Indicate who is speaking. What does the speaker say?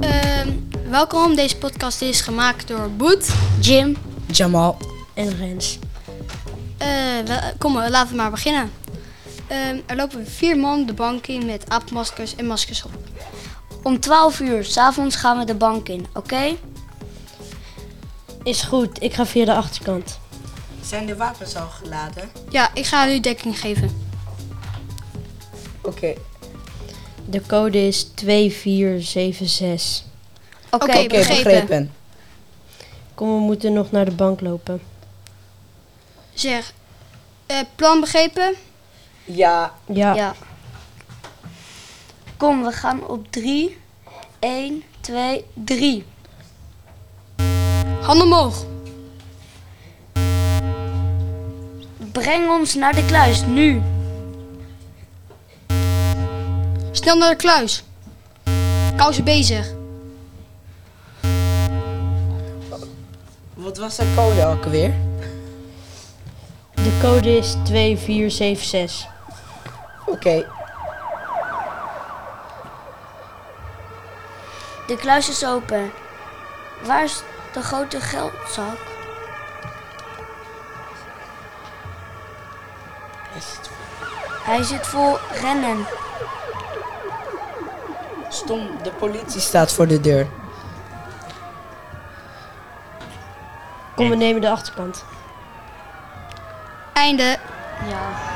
Speaker 1: Ehm, Welkom, deze podcast is gemaakt door Boet.
Speaker 2: Jim
Speaker 3: Jamal.
Speaker 2: en Rens.
Speaker 1: Eh, wel- kom, maar, laten we maar beginnen. Ehm, er lopen vier man de bank in met aapmaskers en maskers op.
Speaker 2: Om 12 uur s'avonds gaan we de bank in, oké? Is goed, ik ga via de achterkant.
Speaker 3: Zijn de wapens al geladen?
Speaker 1: Ja, ik ga u dekking geven.
Speaker 3: Oké.
Speaker 2: De code is 2476.
Speaker 1: Oké,
Speaker 3: Oké,
Speaker 1: begrepen.
Speaker 3: begrepen.
Speaker 2: Kom, we moeten nog naar de bank lopen.
Speaker 1: Zeg, eh, plan begrepen?
Speaker 3: Ja,
Speaker 2: Ja.
Speaker 4: Kom, we gaan op 3. 1, 2, 3.
Speaker 1: Handen omhoog.
Speaker 4: Breng ons naar de kluis, nu.
Speaker 1: Snel naar de kluis. Kousen bezig.
Speaker 3: wat was de code ook alweer?
Speaker 2: De code is 2476.
Speaker 3: Oké,
Speaker 4: De kluis is open. Waar is de grote geldzak? Hij zit vol rennen.
Speaker 3: stom, de politie staat voor de deur.
Speaker 2: Kom, we nemen de achterkant.
Speaker 1: Einde.
Speaker 4: Ja.